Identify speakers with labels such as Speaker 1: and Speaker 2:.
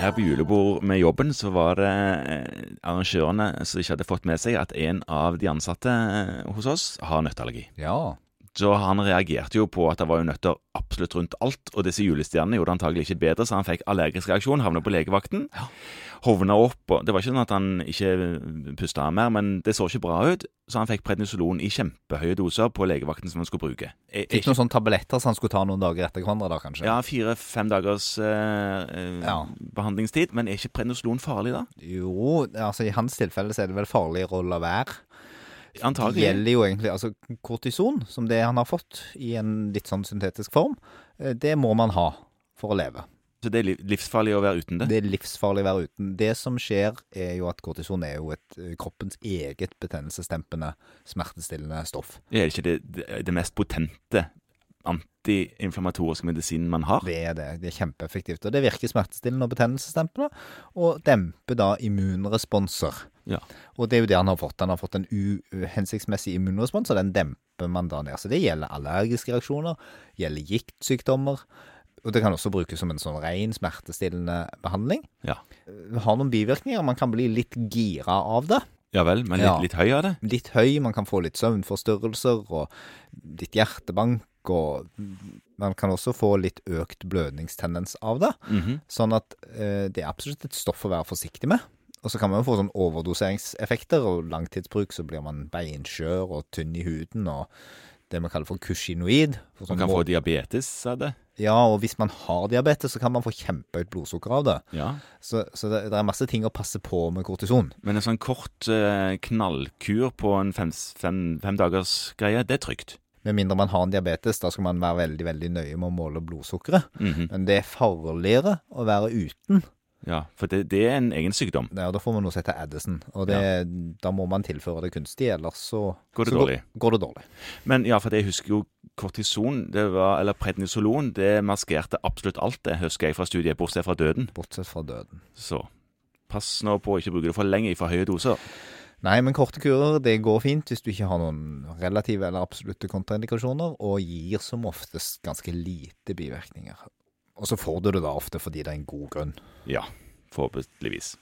Speaker 1: Her på julebord med jobben så var det eh, arrangørene som ikke hadde fått med seg at en av de ansatte eh, hos oss har nøtteallergi.
Speaker 2: Ja.
Speaker 1: Så han reagerte jo på at det var jo nøtter absolutt rundt alt, og disse julestjernene gjorde antagelig ikke bedre, så han fikk allergisk reaksjon, havna på legevakten, hovna opp, og det var ikke sånn at han ikke pusta mer, men det så ikke bra ut, så han fikk prednisolon i kjempehøye doser på legevakten som han skulle bruke. Er- er
Speaker 2: Fikk noen sånne tabletter som han skulle ta noen dager etter hverandre, da kanskje?
Speaker 1: Ja, fire-fem dagers eh, eh,
Speaker 2: Ja.
Speaker 1: behandlingstid. Men er ikke prednisolon farlig, da?
Speaker 2: Jo, altså i hans tilfelle så er det vel farligere å la være. Det
Speaker 1: Antagelig.
Speaker 2: gjelder jo egentlig altså kortison, som det han har fått i en litt sånn syntetisk form. eh, Det må man ha for å leve.
Speaker 1: Så det er liv- livsfarlig å være uten det?
Speaker 2: Det er livsfarlig å være uten. Det som skjer er jo at kortison er jo et eh, kroppens eget betennelsesdempende, smertestillende stoff.
Speaker 1: Det er ikke det, det, det mest potente antiinflamatoriske medisinen man har?
Speaker 2: Det er det. Det er kjempeeffektivt. Og det virker smertestillende og betennelsesdempende, og demper da immunresponser.
Speaker 1: Ja.
Speaker 2: Og det er jo det han har fått. Han har fått en uhensiktsmessig immunrespons, og den demper man da ned. Så det gjelder allergiske reaksjoner, gjelder giktsykdommer. Og det kan også brukes som en sånn ren smertestillende behandling.
Speaker 1: Ja,
Speaker 2: Det Har noen bivirkninger. Man kan bli litt gira av det.
Speaker 1: ja vel, men litt,
Speaker 2: Ja.
Speaker 1: litt høy av det?
Speaker 2: Litt høy, man kan få litt søvnforstyrrelser og litt hjertebank. Og man kan også få litt økt blødningstendens av det.
Speaker 1: Mhm.
Speaker 2: Sånn at eh, det er absolutt et stoff å være forsiktig med. Og så kan man jo få sånn overdoseringseffekter, og langtidsbruk så blir man beinskjør og tynn i huden og det man kaller for kushinoid. For
Speaker 1: Man
Speaker 2: sånn
Speaker 1: kan
Speaker 2: må-
Speaker 1: få diabetes av det.
Speaker 2: ja, og hvis man har diabetes, så kan man få kjempehøyt blodsukker av det.
Speaker 1: Ja.
Speaker 2: Så, så det, det er masse ting å passe på med kortison.
Speaker 1: Men en sånn kort eh, knallkur på en fem, fem, fem dagers greie, det er trygt.
Speaker 2: Med mindre man har en diabetes, da skal man være veldig veldig nøye med å måle blodsukkeret.
Speaker 1: Mhm.
Speaker 2: Men det er farligere å være uten.
Speaker 1: Ja, For det, det er en egen sykdom.
Speaker 2: Ja, da får man noe som heter Addison, og det, da må man tilføre det kunstig, ellers så
Speaker 1: Går det
Speaker 2: så
Speaker 1: dårlig?
Speaker 2: Går, går det dårlig.
Speaker 1: Men ja, for jeg husker jo kortison, det var, eller prednisolon, det maskerte absolutt alt det, husker jeg fra studiet, bortsett fra døden.
Speaker 2: Bortsett fra døden.
Speaker 1: Så pass nå på å ikke bruke det for lenge i for høye doser.
Speaker 2: Nei, men korte kurer det går fint hvis du ikke har noen relative eller absolutte kontraindikasjoner, og gir som oftest ganske lite bivirkninger. Og så får du det da ofte fordi det er en god grunn.
Speaker 1: Ja, forhåpentligvis.